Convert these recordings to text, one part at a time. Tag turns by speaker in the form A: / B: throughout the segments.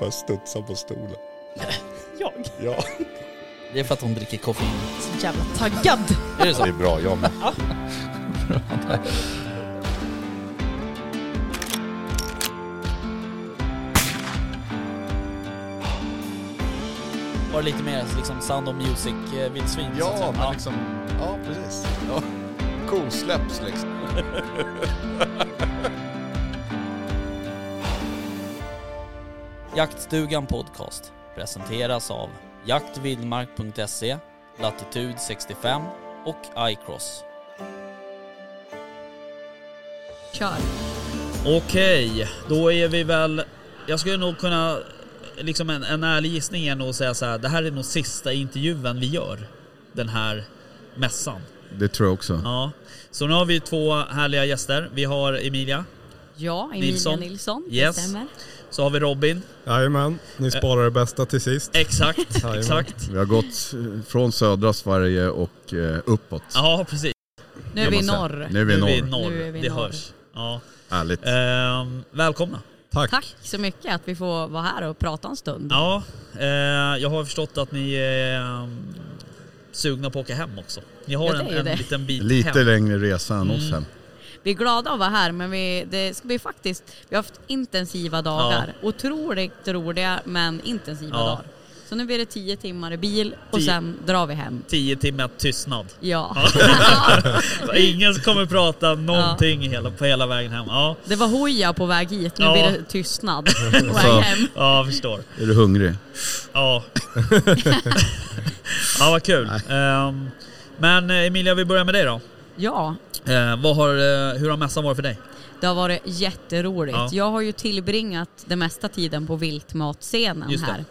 A: Bara studsa på stolen.
B: Jag?
A: Ja,
C: Det är för att hon dricker koffein.
B: Så jävla taggad.
C: Är det så?
A: det är bra. Jag med.
C: Var det lite mer liksom Sound of Music-vildsvin?
A: Ja, men liksom... Ja, precis. Ja. Kosläpps liksom.
C: Jaktstugan Podcast presenteras av jaktvildmark.se, Latitude 65 och iCross.
B: Kör.
C: Okej, då är vi väl... Jag skulle nog kunna... Liksom en, en ärlig gissning är nog att säga så här, det här är nog sista intervjun vi gör den här mässan.
D: Det tror jag också.
C: Ja, så nu har vi två härliga gäster. Vi har Emilia,
B: Ja, Emilia
C: Nilsson.
B: Nilsson.
C: Yes.
B: Det stämmer.
C: så har vi Robin.
E: Jajamän, ni sparar det bästa till sist.
C: Exakt,
E: Jajamän.
C: exakt.
D: Vi har gått eh, från södra Sverige och eh, uppåt.
C: Ja, precis.
B: Nu är vi i
D: kan man säga.
B: norr.
D: Nu är vi i
C: Nu är vi i
D: norr.
C: norr,
B: Nu är vi i
C: det
B: norr.
C: hörs. Ja.
D: Härligt.
C: Ehm, välkomna.
E: Tack.
B: Tack så mycket att vi får vara här och prata en stund.
C: Ja, eh, jag har förstått att ni är sugna på att åka hem också. Ni har
B: Ja, det är
C: en,
B: ju
C: en
B: det.
C: liten bit
D: Lite
C: hem. Mm.
D: längre resa än oss hem.
B: Vi är glada att vara här men vi, det ska bli faktiskt, vi har haft intensiva dagar. Otroligt roliga men intensiva
C: Ja.
B: dagar. Så nu blir det tio timmar i bil och
C: Tio.
B: sen drar vi hem.
C: Tio timmar tystnad.
B: Ja.
C: Så ingen kommer prata någonting hela, på hela vägen hem. Ja,
B: Det var hoja på väg hit, nu
C: Ja.
B: blir det tystnad på
D: Så.
B: väg hem.
C: ja jag förstår.
D: Är du hungrig?
C: Ja. ja, vad kul. Ehm, men eh, Emilia, vi börjar med dig då.
B: Ja,
C: Eh, vad har, eh, hur har mässan varit för dig?
B: Det har varit jätteroligt.
C: Ja.
B: Jag har ju tillbringat den mesta tiden på viltmatscenen
C: Just det. Mm.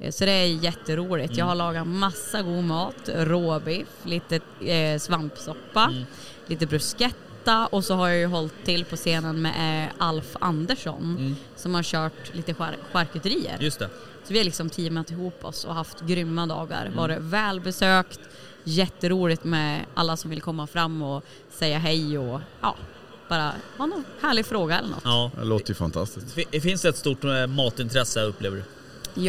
B: här. Eh, Så det är jätteroligt. Jag har lagat massa god mat, råbiff, lite eh, svampsoppa,
C: Mm.
B: lite bruschetta och så har jag ju hållit till på scenen med eh, Alf Andersson som har kört lite skär- charkuterier.
C: Mm. Just det.
B: Så vi har liksom teamat ihop oss och haft grymma dagar. Varit välbesökt, jätteroligt med alla som vill komma fram och säga hej och ja, bara ha någon härlig fråga eller något. Ja,
C: Ja.
D: Det låter ju fantastiskt.
C: Fi- Finns det ett stort eh, matintresse upplever du?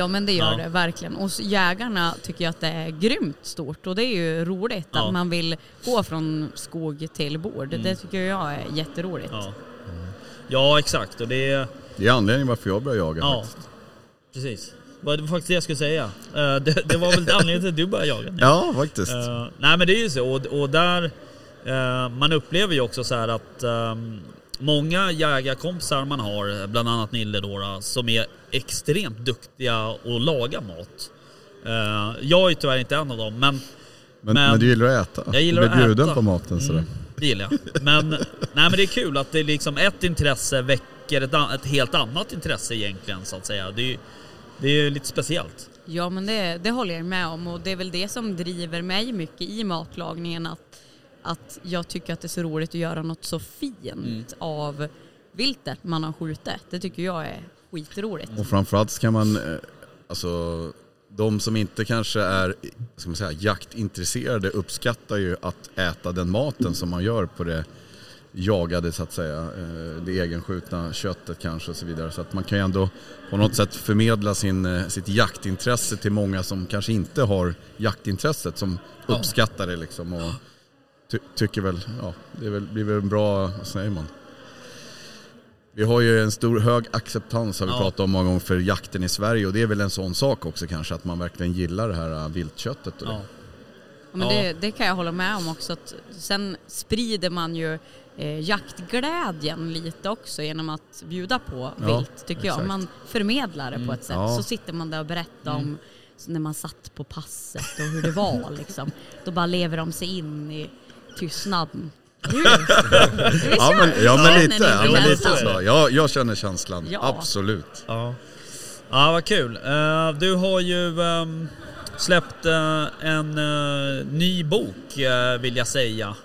B: men det gör
C: Ja.
B: det verkligen. Och så jägarna tycker jag att det är grymt stort och det är ju roligt
C: Ja. Mm.
B: att man vill gå från skog till bord. Det tycker jag är jätteroligt.
C: Ja. Ja, exakt. Och det är...
D: Det är anledningen varför jag började jaga
C: Ja,
D: faktiskt.
C: precis. Vad- Det var faktiskt det jag skulle säga. Eh, Det, det var väl anledningen till att du började jaga. nu.
D: Ja, faktiskt.
C: Eh, nej men det är ju så och, och där eh, man upplever ju också så här att ehm, många jägarkompisar man har, bland annat Nille då, då, som är extremt duktiga och laga mat. Eh, jag är tyvärr inte en av dem men
D: Men,
C: men-
D: men, du gillar att äta.
C: Jag gillar
D: du blir
C: att
D: bjuden
C: äta. Mm.
D: på maten sådär.
C: det gillar jag. Men, nej men det är kul att det är liksom ett intresse väcker ett, an- ett helt annat intresse egentligen så att säga. Det är ju det är ju lite speciellt.
B: Ja men det, det håller jag med om och det är väl det som driver mig mycket i matlagningen att, att jag tycker att det är så roligt att göra något så fint av viltet man har skjutit. Det tycker jag är skitroligt.
D: Och framförallt ska man, eh, alltså de som inte kanske är ska man säga, jaktintresserade uppskattar ju att äta den maten som man gör på det jagade så att säga, eh, det egenskjutna köttet kanske och så vidare. Så att man kan ju ändå på något sätt förmedla sin, eh, sitt jaktintresse till många som kanske inte har jaktintresset som uppskattar det liksom. Och, ty- tycker väl, ja, det är väl, blir väl en bra, vad säger man? Vi har ju en stor hög acceptans har vi
C: Ja.
D: pratat om många gånger för jakten i Sverige och det är väl en sån sak också kanske att man verkligen gillar det här äh, viltköttet. Och det.
C: Ja.
B: Ja, Men
C: Ja.
B: det, det kan jag hålla med om också. Att sen sprider man ju eh, jaktglädjen lite också genom att bjuda på
D: Ja,
B: vilt tycker jag.
D: exakt. Mm,
B: Man förmedlar det på ett sätt.
D: ja. Mm.
B: Så sitter man där och berättar om så när man satt på passet och hur det var liksom. Då bara lever de sig in i tystnaden. Hur? Hur
D: Ja men, ja, men
B: Känner
D: lite,
B: ni
D: ja, men lite
B: känslan?
D: så. Jag, jag känner känslan,
B: Ja.
D: absolut.
C: Ja. Ja, vad kul. Eh, Du har ju ehm, släppt eh, en eh, ny bok eh, vill jag säga.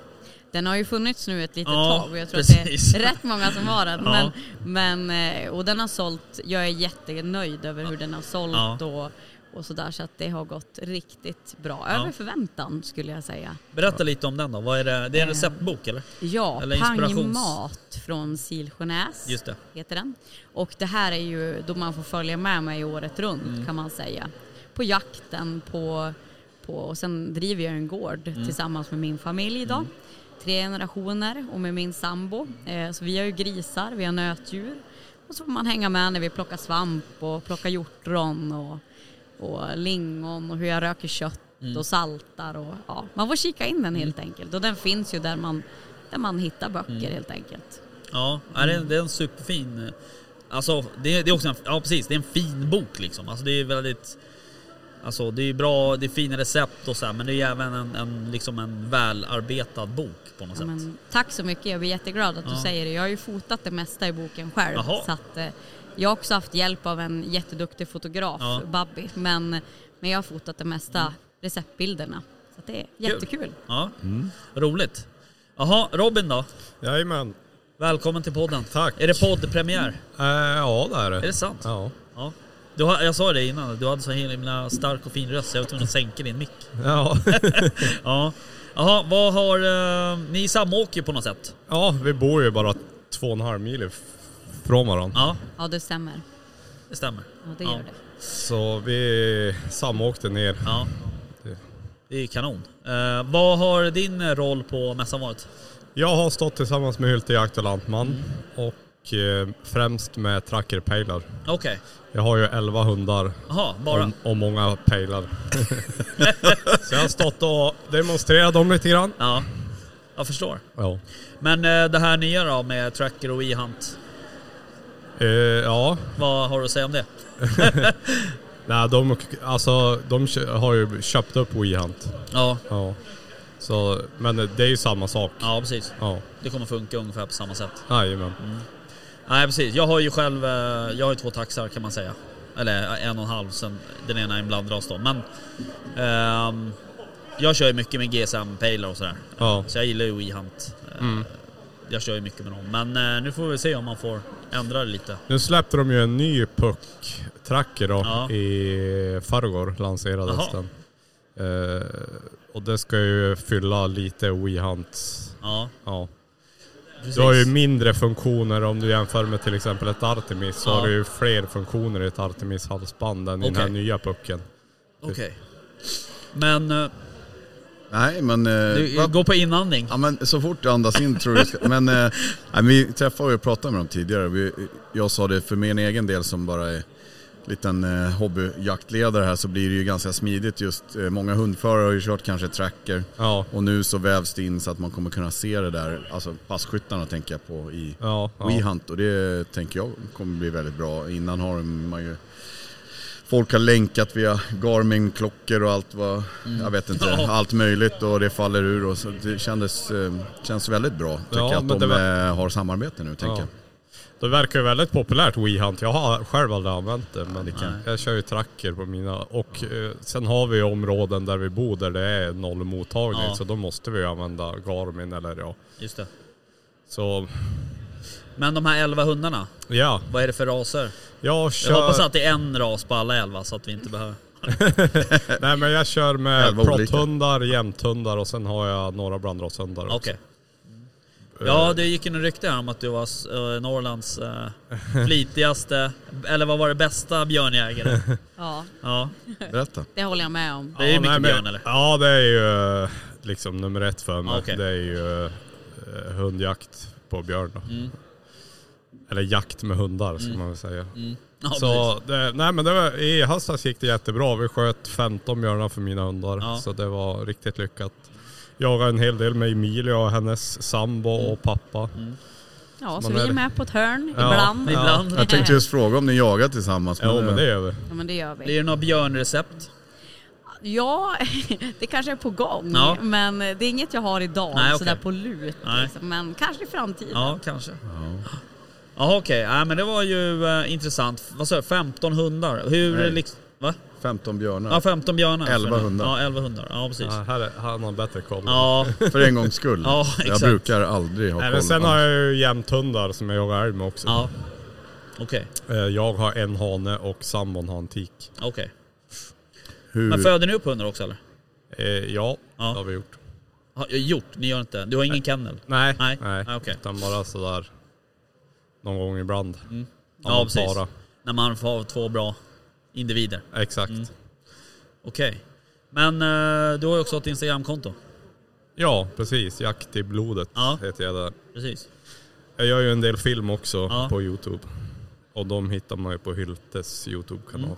B: Den har ju funnits nu ett litet
C: Ja,
B: tag och jag tror
C: precis.
B: att det är rätt många som har den.
C: Ja.
B: Men, men, eh, och den har sålt, jag är jättenöjd över hur den har sålt
C: Ja.
B: och, och sådär. Så att det har gått riktigt bra. Över förväntan skulle jag säga.
C: Berätta lite om den då. Vad är det? det är en
D: Eh.
C: receptbok eller?
B: Ja,
C: Eller inspirations-
B: Pangmat från Silsjönäs
C: Just det.
B: heter den. Och det här är ju då man får följa med mig året runt kan man säga. På jakten, på, på, och sen driver jag en gård tillsammans med min familj då. Tre generationer och med min sambo. Eh, så vi har ju grisar, vi har nötdjur. Och så får man hänga med när vi plockar svamp och plockar hjortron och, och lingon och hur jag röker kött och saltar. Och, ja, man får kika in den helt enkelt. Och den finns ju där man, där man hittar böcker helt enkelt.
C: Ja, är det, det är en superfin... eh, Alltså det, det är också en, ja precis, det är en fin bok liksom. Alltså det är väldigt... Alltså det är bra, det är fina recept och så här, men det är ju även en, en, liksom en välarbetad bok på något
B: Ja,
C: sätt.
B: men, tack så mycket, jag blir jätteglad att du
C: Ja.
B: säger det. Jag har ju fotat det mesta i boken själv.
C: Jaha.
B: Så att, eh, jag har också haft hjälp av en jätteduktig fotograf,
C: Ja. Mm.
B: Babbi. Men, men jag har fotat det mesta, receptbilderna. Så att det är jättekul.
C: Ja,
E: Mm.
C: roligt. Jaha, Robin då?
E: Jajamän.
C: Välkommen till podden.
E: Tack.
C: Är det poddpremiär?
E: Eh, ja, det är det.
C: Är det sant?
E: Ja.
C: Ja. Du har, jag sa det innan, du hade så himla stark och fin röst så jag var tvungen att sänka din mick.
E: Ja.
C: Ja. Jaha, vad har... Eh, ni samåker på något sätt?
E: ja, vi bor ju bara två och en halv mil if- från varandra.
C: Ja,
B: Ja, det stämmer.
C: det stämmer.
B: Ja, det gör det.
E: Så vi samåkte ner.
C: Ja.
E: Det-
C: Det är kanon. Eh, vad har din roll på mässan varit?
E: Jag har stått tillsammans med Hylte Jakt och Lantman
C: Mm.
E: och eh, främst med trackerpejlar.
C: Okej.
E: Jag har ju 11 hundar
C: Jaha, bara.
E: och, och många pejlar. Så jag har stått och demonstrerat dem lite grann.
C: Ja. Jag förstår.
E: Ja.
C: Men eh, det här nya då med tracker och e-hunt.
E: Eh, ja,
C: Vad har du att säga om det?
E: Nej, de, alltså, de kö- har ju köpt upp WeHunt.
C: Ja.
E: Ja. Så, men det är ju samma sak.
C: Ja, precis.
E: Ja.
C: Det kommer funka ungefär på samma sätt.
E: Jajamän.
C: Nej precis, jag har ju själv, eh, jag har ju två taxar kan man säga. Eller eh, en och en halv, sen den ena är en blandras då. Men ehm, jag kör ju mycket med GSM, Paylar och sådär.
E: Ja.
C: Så jag gillar ju WeHunt. Eh, Jag kör ju mycket med dem. Men eh, nu får vi se om man får ändra det lite.
E: Nu släppte de ju en ny puck-tracker då
C: Ja.
E: i förrgår lanserades
C: Jaha.
E: den. Eh, och det ska ju fylla lite WeHunts.
C: Ja,
E: Ja.
C: precis.
E: Du har ju mindre funktioner om du jämför med till exempel ett Artemis. Så
C: Ja.
E: har du ju fler funktioner i ett Artemis halsband än i den här
C: Okej.
E: nya pucken.
C: Okej. Men eh,
D: Nej men... eh,
C: du,
D: va-
C: gå på inandning.
D: Ja, men så fort du andas in tror du ska, Men eh, nej, vi träffade och pratade med dem tidigare. Vi, jag sa det för min egen del som bara är liten eh, hobbyjaktledare här så blir det ju ganska smidigt just. Eh, många hundförare har ju kört kanske tracker
E: Ja.
D: och nu så vävs det in så att man kommer kunna se det där, alltså passkyttarna tänker jag på i
E: Ja, ja.
D: WeHunt och det tänker jag kommer bli väldigt bra. Innan har man ju Folk har länkat via Garmin-klockor och allt vad,
E: Mm.
D: jag vet inte,
C: Ja.
D: allt möjligt och det faller ur och så det kändes, eh, känns väldigt bra tycker
E: Ja,
D: jag att
E: men
D: de
E: det var-
D: eh, har samarbete nu tänker jag.
E: Det verkar ju väldigt populärt, WeHunt. Jag har själv aldrig använt det, men jag kör ju tracker på mina. Och eh, sen har vi ju områden där vi bor där det är noll mottagning,
C: Ja.
E: så då måste vi ju använda Garmin eller ja.
C: Just det.
E: Så
C: Men de här 11 hundarna,
E: ja,
C: vad är det för raser?
E: jag
C: Jag
E: kör...
C: hoppas att det är en ras på alla 11 så att vi inte behöver...
E: Nej men jag kör med
D: Elva olika.
E: protthundar, jämthundar och sen har jag några blandrashundar också.
C: Okej. Ja, det gick ju en rykte här om att du var eh, Norrlands eh, flitigaste, eller vad var det, bästa björnjägare?
B: Ja,
C: Ja,
D: Berätta.
B: det håller jag med om.
C: det är ju mycket
E: nej, men-
C: björn eller?
E: Ja det är ju eh, liksom nummer ett för mig.
C: Ah, okej.
E: Det är ju eh, hundjakt på björn då.
C: Mm.
E: Eller jakt med hundar ska man väl säga.
C: Mm. Ja, precis.
E: Så det, nej men det var, i höstas gick det jättebra. Vi sköt 15 björnar för mina hundar.
C: Ja.
E: Så det var riktigt lyckat. Jagade en hel del med Emilia och hennes sambo
C: Mm.
E: och pappa.
B: Ja, så
E: man
B: vi
E: är
B: är
E: det.
B: med på ett hörn
E: Ja.
B: ibland.
E: Ja.
C: Ibland.
D: Jag tänkte just fråga om ni jagar tillsammans.
E: Jo men det gör vi.
B: Ja, men det gör vi.
C: Blir det några björnrecept?
B: Ja, det kanske är på gång.
C: Ja.
B: Men det är inget jag har idag
C: Nej, okej.
B: sådär på lut.
C: Nej.
B: Liksom. Men kanske i framtiden.
C: Ja, kanske. Ja, okej. Ja, men det var ju eh, intressant. Vad sa du, 15 hundar? Hur
D: Nej.
C: liksom... Va?
D: 15 björnar.
C: Ja, 15 björnar.
D: 11 hundar.
C: Ja, 11 hundar. Ja, precis.
E: Ja, här är, han har bättre koll.
C: Ja,
D: För en gångs skull.
C: Ja,
D: jag
C: exakt.
D: brukar aldrig ha
E: Nej,
D: koll.
E: Eh, men sen har jag ju jämthundar som jag jagar älg med också.
C: ja. Okej,
E: Eh, Jag har en hane och sambon har en tik.
C: okej.
D: Hur?
C: Men föder ni upp hundar också eller?
E: Eh, ja,
C: Ja.
E: det har vi gjort.
C: Har- Gjort? Ni gör inte? Du har ingen kennel?
E: Nej,
C: Nej.
E: nej.
C: Ah, okej.
E: utan bara sådär någon gång ibland. Mm.
C: Ja, precis. När man får av två bra individer.
E: Exakt.
C: Okej. Men eh, du har ju också ett Instagramkonto.
E: Ja, precis. Jakt i blodet
C: Ja.
E: heter jag där.
C: Precis.
E: Jag gör ju en del film också
C: Ja.
E: på Youtube. Och de hittar man ju på Hyltes Youtube-kanal.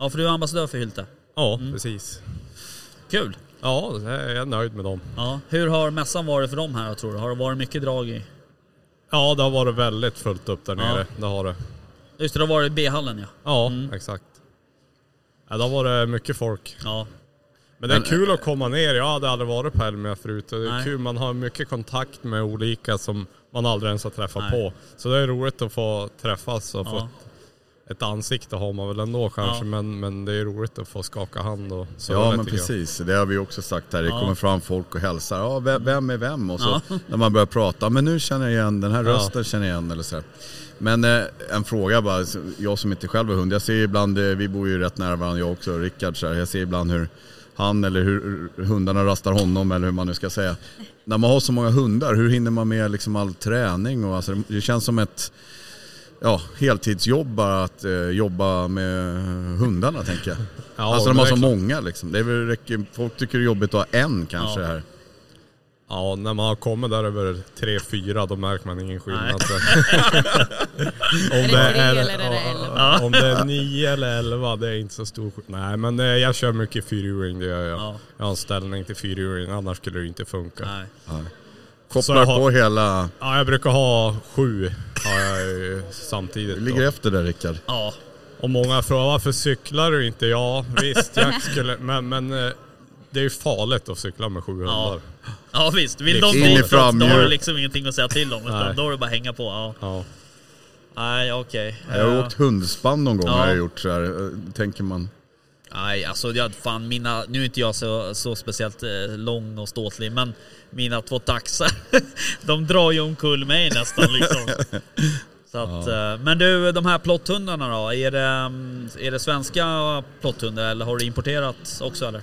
C: Ja, för du är ambassadör för Hylte.
E: Ja, precis.
C: Kul!
E: Ja, jag är nöjd med dem.
C: Ja. Hur har mässan varit för dem här tror du? Har det varit mycket drag i?
E: Ja, det har varit väldigt fullt upp där
C: Ja.
E: nere. Det har det.
C: Just det, det har varit i B-hallen ja.
E: Ja, exakt. Ja, det har varit mycket folk.
C: Ja,
E: Men det är
D: Men,
E: kul att komma ner. Jag hade aldrig varit på Elmia förut. och Det är
C: Nej.
E: kul, man har mycket kontakt med olika som man aldrig ens har träffat
C: Nej.
E: på. Så det är roligt att få träffas och
C: ja.
E: få ett ansikte har man väl ändå kanske.
C: Ja.
E: Men, men det är roligt att få skaka hand och så
D: Ja men precis, det har vi också sagt här. Det kommer fram folk och hälsar. Ja, ve- vem är vem? Och så när man börjar prata, men nu känner jag igen den här
E: Ja.
D: rösten känner jag igen eller sådär. Men eh, en fråga bara, så- jag som inte själv är hund. Jag ser ju ibland, eh, vi bor ju rätt nära varandra jag också och Rickard så här. Jag ser ibland hur han eller hur hundarna rastar honom eller hur man nu ska säga. När man har så många hundar, hur hinner man med liksom all träning? Och, alltså, det- det känns som ett ja, heltidsjobb bara att eh, jobba med hundarna tänker jag.
E: Ja,
D: alltså de har
E: det
D: så
E: är klart.
D: många liksom. Det är väl, räcker, folk tycker det är jobbigt att ha en kanske
C: Ja.
D: här.
E: Ja, när man har kommit där över tre fyra då märker man ingen skillnad. Så. om,
B: det tre eller är det
E: ja,
B: elva?
E: ja, om det är nio eller elva, det är inte så stor skillnad. Nej, men eh, jag kör mycket fyrhjuling, det gör jag.
C: Ja.
E: Jag har en ställning till fyrhjuling, annars skulle det inte funka.
C: nej.
E: Så
D: Kopplar
E: jag har-
D: på hela...
E: Ja, jag brukar ha sju har jag ju samtidigt.
D: Du
E: då.
D: ligger efter där Rickard.
C: Ja,
E: Och många frågar varför cyklar du inte? Ja, visst jag skulle... Men, men eh, det är ju farligt att cykla med sju hundar.
C: ja visst. Vill
E: Liksom.
C: de
E: In i
C: inte då har du
D: framhjul.
C: liksom ingenting att säga till om. Utan
E: Nej.
C: då är det bara att hänga på. Ja.
E: Ja.
C: Nej, okej.
D: Jag har
C: Eh,
D: åkt hundspann någon gång
C: Ja.
D: har jag gjort så här. eh, Tänker man.
C: Nej, alltså jag, fan mina, nu är inte jag så, så speciellt eh, lång och ståtlig, men mina två taxar, de drar ju omkull mig nästan liksom. Så att, eh, Men du, de här plotthundarna då, är det, mm, är det svenska plotthundar eller har du importerat också eller?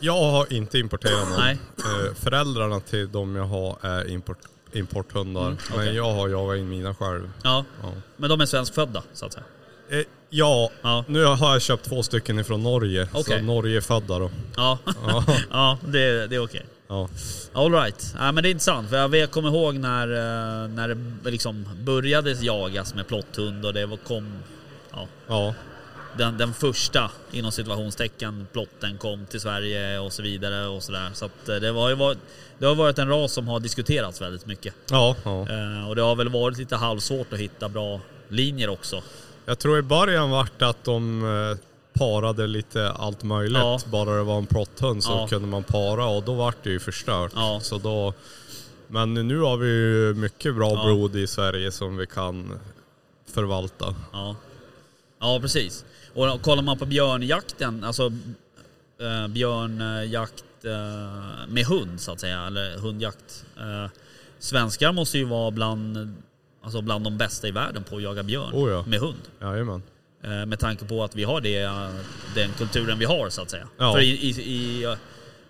E: Jag har inte importerat någon.
C: Nej.
E: Eh, Föräldrarna till de jag har är import, importhundar. Men
C: Mm, okej.
E: jag har jagat in mina själv.
C: Ja,
E: Ja.
C: men de är svenskfödda så att säga.
E: Eh, ja,
C: Ja.
E: nu har jag köpt två stycken ifrån Norge.
C: Okej.
E: Så Norge är födda då.
C: Ja,
E: Ja.
C: ja det, det är okej.
E: Ja.
C: All right. Ja, men det är intressant för jag vet- kommer ihåg när, eh, när det liksom började jagas med plotthund och det var- kom ja,
E: ja.
C: den, den första inom situationstecken plotten kom till Sverige och så vidare och sådär. Så att eh, det, var ju varit, det har varit en ras som har diskuterats väldigt mycket.
E: Ja, ja.
C: Eh, och det har väl varit lite halvsvårt att hitta bra linjer också.
E: Jag tror i början vart det att de eh, parade lite allt möjligt.
C: Ja.
E: Bara det var en plotthund så
C: Ja.
E: kunde man para och då vart det ju förstört.
C: Ja.
E: Så då, men nu har vi ju mycket bra
C: Ja.
E: blod i Sverige som vi kan förvalta.
C: Ja, ja precis. Och kollar man på björnjakten, alltså eh, björnjakt eh, med hund så att säga, eller hundjakt. Eh, svenskar måste ju vara bland, alltså bland de bästa i världen på att jaga björn
E: Oh ja.
C: med hund.
E: Jajamän.
C: Eh, Med tanke på att vi har det, eh, den kulturen vi har så att säga.
E: Ja.
C: För i, i, i, eh,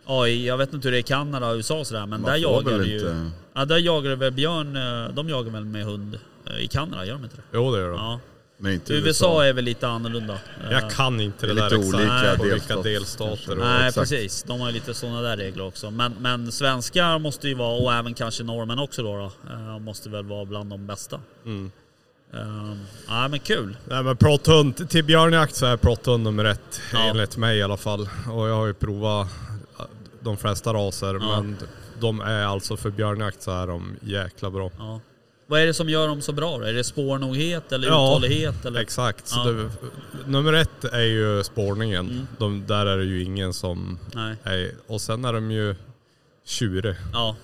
C: ja, i, jag vet inte hur det är i Kanada och USA och sådär men
D: Man
C: där
D: får
C: jagar
D: väl
C: det ju...
D: inte-
C: Ja, där jagar det väl björn, eh, de jagar väl med hund eh, i Kanada, gör de inte det?
E: Jo det gör de.
C: Ja.
D: Men inte
E: Typ
C: USA är väl lite annorlunda. Eh,
E: Jag kan inte det,
D: Det är
E: där
D: lite olika
E: på vilka
D: delstats-
E: delstater. Och,
C: Nej
D: exakt.
C: precis, de har ju lite sådana där regler också. Men, men svenskar måste ju vara, och även kanske norrmän också då, då eh, måste väl vara bland de bästa.
E: Mm.
C: Eh, Ja men kul.
E: Nej men protthund, till björnjakt så är protthund nummer ett
C: Ja.
E: enligt mig i alla fall. Och jag har ju provat eh, de flesta raser men de är alltså för björnjakt så är de jäkla bra.
C: Ja. Vad är det som gör dem så bra då? Är det spårnoghet eller
E: Ja,
C: uthållighet? Eller?
E: Exakt. Så
C: Ja.
E: det, nummer ett är ju spårningen. De, där är det ju ingen som
C: Nej.
E: är... Och sen är de ju tjurig.
C: Ja,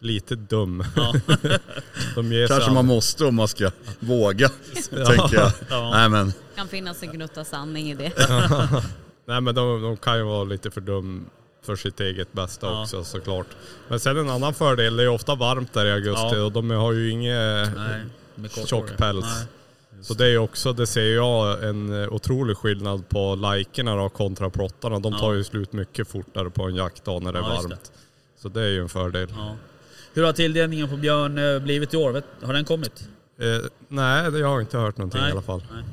E: Lite dum.
C: Ja.
E: de ger sig
D: Kanske man
E: aldrig.
D: måste om man ska våga, tänker jag.
C: Ja.
D: Nej men,
B: kan finnas en gnutta sanning i det.
E: Nej men de, de kan ju vara lite för dum för sitt eget bästa
C: Ja.
E: också såklart. Men sen en annan fördel, det är ju ofta varmt där i augusti
C: Ja.
E: och de har ju inget...
C: nej. med kort hår.
E: Tjock päls.
C: Nej.
E: Så det är ju också, det ser jag en eh, otrolig skillnad på likerna då kontra plottarna. De tar ju slut mycket fortare på en jaktdag när det är
C: Ja, just det.
E: varmt. Så det är ju en fördel.
C: Ja. Hur har tilldelningen på björn eh, blivit i år? Vet- Har den kommit?
E: Eh, nej, det- jag har inte hört någonting i alla fall.
C: Nej.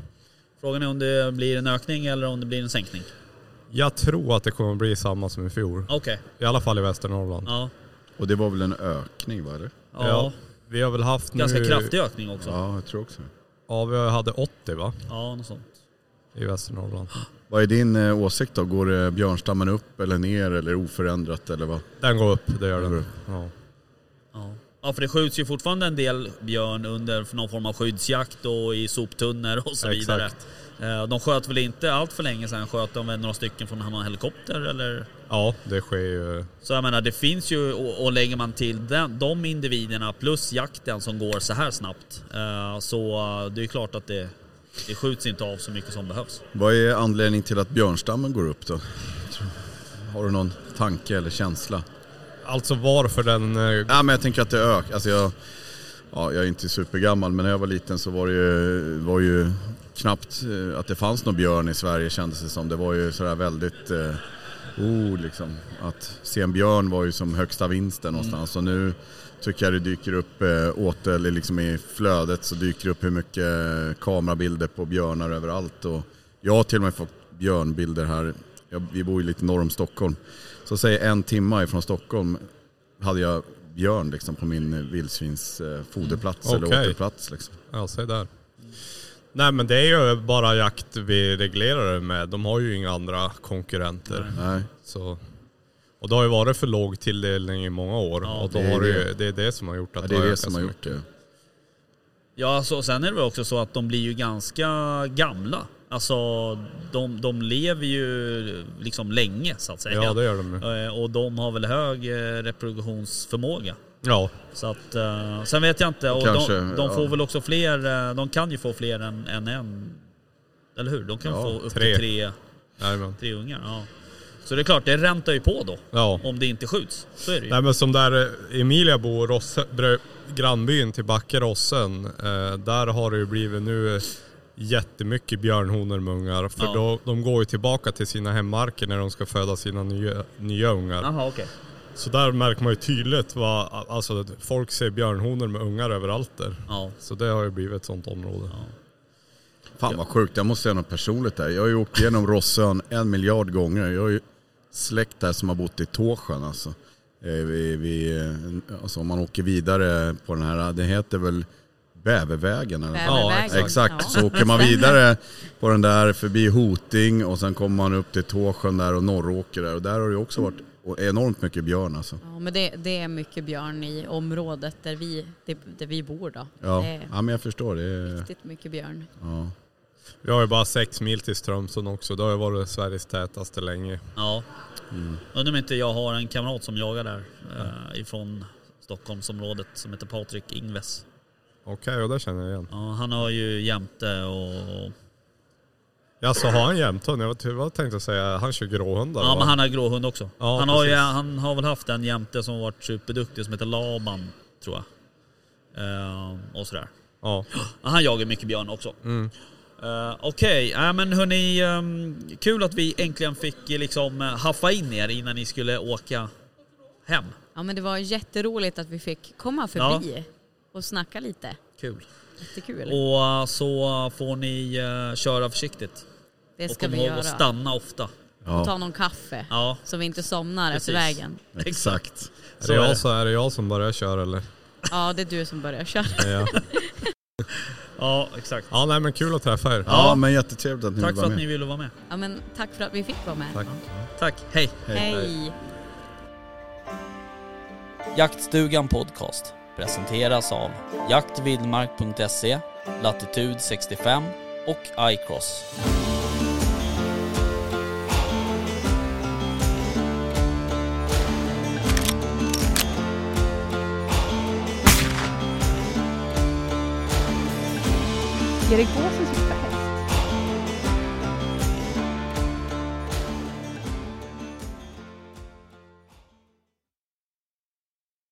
C: Frågan är om det blir en ökning eller om det blir en sänkning.
E: Jag tror att det kommer bli samma som i fjol.
C: Okej.
E: I alla fall i Västernorrland.
C: Ja.
D: Och det var väl en ökning va? Eller?
C: Ja.
E: Vi har väl haft
C: Ganska
E: nu...
C: kraftig ökning också. Ja,
D: Ja, jag tror också det.
E: Ja, vi hade 80 va?
C: något sånt.
E: I Västernorrland.
D: Vad är din eh, åsikt då? Går eh, björnstammen upp eller ner eller oförändrat eller vad?
E: Den går upp, det gör
D: Den går
E: den.
D: upp.
E: Ja.
C: Ja. ja, för det skjuts ju fortfarande en del björn under för någon form av skyddsjakt och i soptunnor och så
E: Exakt.
C: vidare. Eh, De sköt väl inte allt för länge sedan, sköt de väl några stycken från någon helikopter eller?
E: ja, det sker ju.
C: Så jag menar, det finns ju, och, och lägger man till den, de individerna plus jakten som går så här snabbt, eh, så eh, det är klart att det, det skjuts inte av så mycket som behövs.
D: Vad är anledningen till att björnstammen går upp då? Har du någon tanke eller känsla?
E: Alltså varför den... eh,
D: Ja, men jag tänker att det ökar. Alltså jag, ja, jag är inte supergammal, men när jag var liten så var det ju, var ju knappt eh, att det fanns någon björn i Sverige kändes det som. Det var ju sådär väldigt... Eh, oh, liksom. Att se en björn var ju som högsta vinsten
E: Mm.
D: någonstans. Och nu tycker jag det dyker upp eh, åter, eller liksom i flödet så dyker det upp hur mycket eh, kamerabilder på björnar överallt. Och jag har till och med fått björnbilder här. Jag, vi bor ju lite norr om Stockholm. Så säg en timma ifrån Stockholm hade jag björn liksom på min vildsvins eh, foderplats
E: Mm.
D: eller
E: Okej.
D: återplats. Liksom.
E: Ja, se där. Nej men det är ju bara jakt vi reglerar det med. De har ju inga andra konkurrenter.
D: Nej.
E: Så. Och det har ju varit för låg tilldelning i många år. och
D: det
E: då
D: är
E: har det, ju,
D: det.
E: det är det som har gjort att
D: Ja, det är
E: har
D: det
E: ökat
D: som
E: så
D: har
E: mycket.
D: gjort det.
C: Ja, så, sen är det väl också så att de blir ju ganska gamla. Alltså, de, de lever ju liksom länge så att säga.
E: Ja det gör de ju.
C: Eh, Och de har väl hög eh, reproduktionsförmåga.
E: Ja,
C: Så att, eh, sen vet jag inte. Och
D: Kanske,
C: de, de får
D: ja.
C: väl också fler, eh, de kan ju få fler än, än en. Eller hur? De kan
E: Ja,
C: få upp
E: tre.
C: till tre,
E: nej men.
C: tre ungar. Ja. Så det är klart, det räntar ju på då.
E: Ja.
C: Om det inte skjuts. Så är det ju.
E: Nej men som där eh, Emilia bor, Rosse, brö, grannbyn till Backe Rossen, eh, där har det ju blivit nu eh, jättemycket björnhonor med ungar. För
C: Ja.
E: då, de går ju tillbaka till sina hemmarker när de ska föda sina nya, nya ungar.
C: Jaha, okej.
E: Så där märker man ju tydligt vad, alltså att folk ser björnhonor med ungar överallt där.
C: Ja.
E: Så det har ju blivit ett sånt område.
D: Fan vad sjukt, jag måste säga något personligt där. Jag har ju åkt igenom Rossön en miljard gånger. Jag har ju släkt där som har bott i Tåsjön alltså. Eh, Vi, vi, eh, alltså om man åker vidare på den här, det heter väl Bävervägen? Eller?
B: Bävervägen.
D: Ja, exakt.
B: Ja.
D: Så åker man vidare på den där förbi Hoting och sen kommer man upp till Tåsjön där och Norråker där. Och där har det ju också varit och enormt mycket björn alltså.
B: Ja, men det, det är mycket björn i området där vi, det, där vi bor då.
D: Ja,
B: Det är
D: ja men jag förstår. Det är,
B: Eh. riktigt mycket björn.
D: ja.
E: Vi har ju bara sex mil till Strömsund också, det har ju varit Sveriges tätaste länge.
C: Ja. Undrar om inte jag har en kamrat som jagar där. Eh, ifrån Stockholmsområdet som heter Patrik Ingves.
E: Okej, och det känner jag igen.
C: Ja, han har ju jämte och...
E: Ja, så har han jämthund? Jag var- vad tänkte jag säga, han kör gråhundar
C: Ja
E: va?
C: men han har gråhund också.
E: Ja,
C: han, har ju,
E: precis.
C: han har väl haft en jämte som varit superduktig som heter Laban tror jag. Eh, och sådär.
E: Ja.
C: Ja, Han jagar mycket björn också. Mm. Okej, ja, men hörni. ehm, kul att vi äntligen fick eh, liksom eh, haffa in er innan ni skulle åka hem.
B: Ja, men det var jätteroligt att vi fick komma förbi och snacka lite.
C: Kul.
B: Jättekul.
C: Och eh, så får ni eh, köra försiktigt.
B: det
C: Och
B: ska
C: kom
B: vi
C: ihåg
B: göra.
C: att stanna ofta.
B: Och
D: ja,
B: ta någon kaffe
C: Ja,
B: så vi inte somnar efter
C: Precis.
B: vägen.
D: exakt.
E: Är
C: så
E: det,
C: är det.
E: jag, så är det jag som börjar köra eller?
B: Ja, det är du som börjar köra.
E: Ja.
C: ja exakt.
E: ja, nej men kul att träffa er.
D: Ja, men jättetrevligt att ni
C: Tack
D: var
C: för att
D: med.
C: ni ville vara med.
B: Ja, men tack för att vi fick vara med.
E: Tack.
C: Tack, hej.
B: Hej.
F: Jaktstugan Podcast presenteras av jaktvildmark.se, Latitude 65 och iCross.
G: Erik Båsens expert.